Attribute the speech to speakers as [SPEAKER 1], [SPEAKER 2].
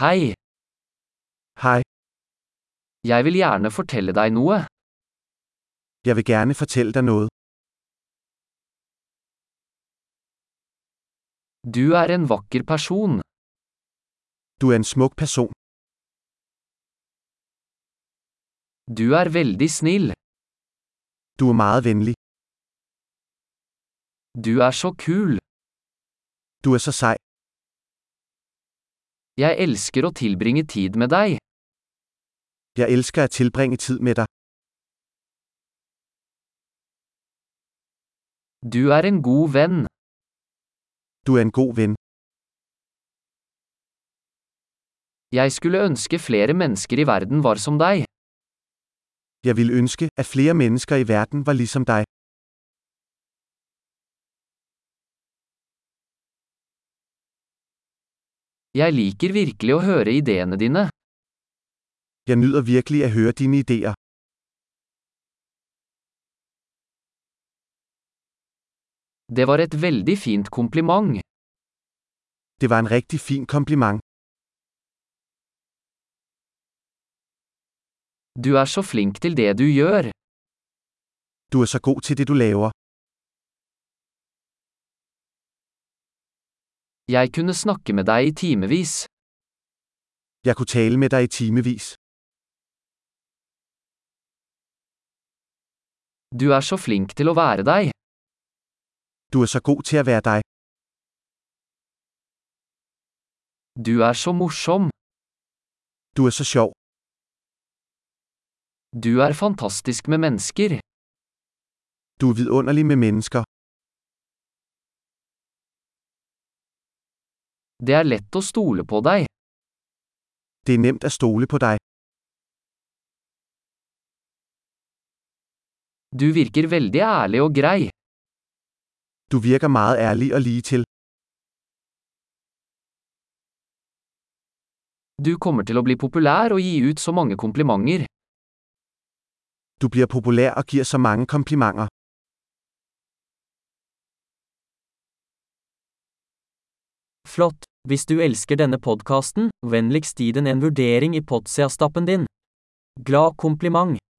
[SPEAKER 1] Hei,
[SPEAKER 2] Hej,
[SPEAKER 1] jeg vil gjerne fortelle deg noe.
[SPEAKER 2] jeg vil gerne fortælle dig noget.
[SPEAKER 1] Du er en vakker person.
[SPEAKER 2] Du er en smuk person.
[SPEAKER 1] Du er veldig snill.
[SPEAKER 2] Du er meget venlig.
[SPEAKER 1] Du er så kul.
[SPEAKER 2] Du er så sej.
[SPEAKER 1] Jeg elsker å tilbringe tid med deg.
[SPEAKER 2] Jeg elsker at tilbringe tid med dig.
[SPEAKER 1] Du er en god venn.
[SPEAKER 2] Du er en god ven.
[SPEAKER 1] Jeg skulle ønske flere mennesker i verden var som deg.
[SPEAKER 2] Jeg ville ønske, at flere mennesker i verden var ligesom dig.
[SPEAKER 1] Jeg liker virkelig å høre ideene dine.
[SPEAKER 2] Jeg nyder virkelig at høre dine idéer.
[SPEAKER 1] Det var et veldig fint kompliment.
[SPEAKER 2] Det var en rigtig fin kompliment.
[SPEAKER 1] Du er så flink til det du gjør.
[SPEAKER 2] Du er så god til det, du laver.
[SPEAKER 1] Jeg kunne snakke med deg i timevis.
[SPEAKER 2] Jeg kunne tale med dig i timevis.
[SPEAKER 1] Du er så flink til å være deg.
[SPEAKER 2] Du er så god til at være dig.
[SPEAKER 1] Du er så morsom.
[SPEAKER 2] Du er så sjov.
[SPEAKER 1] Du er fantastisk med mennesker.
[SPEAKER 2] Du er vidunderlig med mennesker.
[SPEAKER 1] Det er lett å stole på deg.
[SPEAKER 2] Det er nemt at stole på dig.
[SPEAKER 1] Du virker veldig ærlig og grei.
[SPEAKER 2] Du virker meget ærlig og lige til.
[SPEAKER 1] Du kommer til å bli populær og gi ut så mange komplimenter.
[SPEAKER 2] Du bliver populær og giver så mange komplimenter.
[SPEAKER 3] Flott! Hvis du elsker denne podkasten, vennligst gi den en vurdering i Potsia-stappen din. Glad kompliment!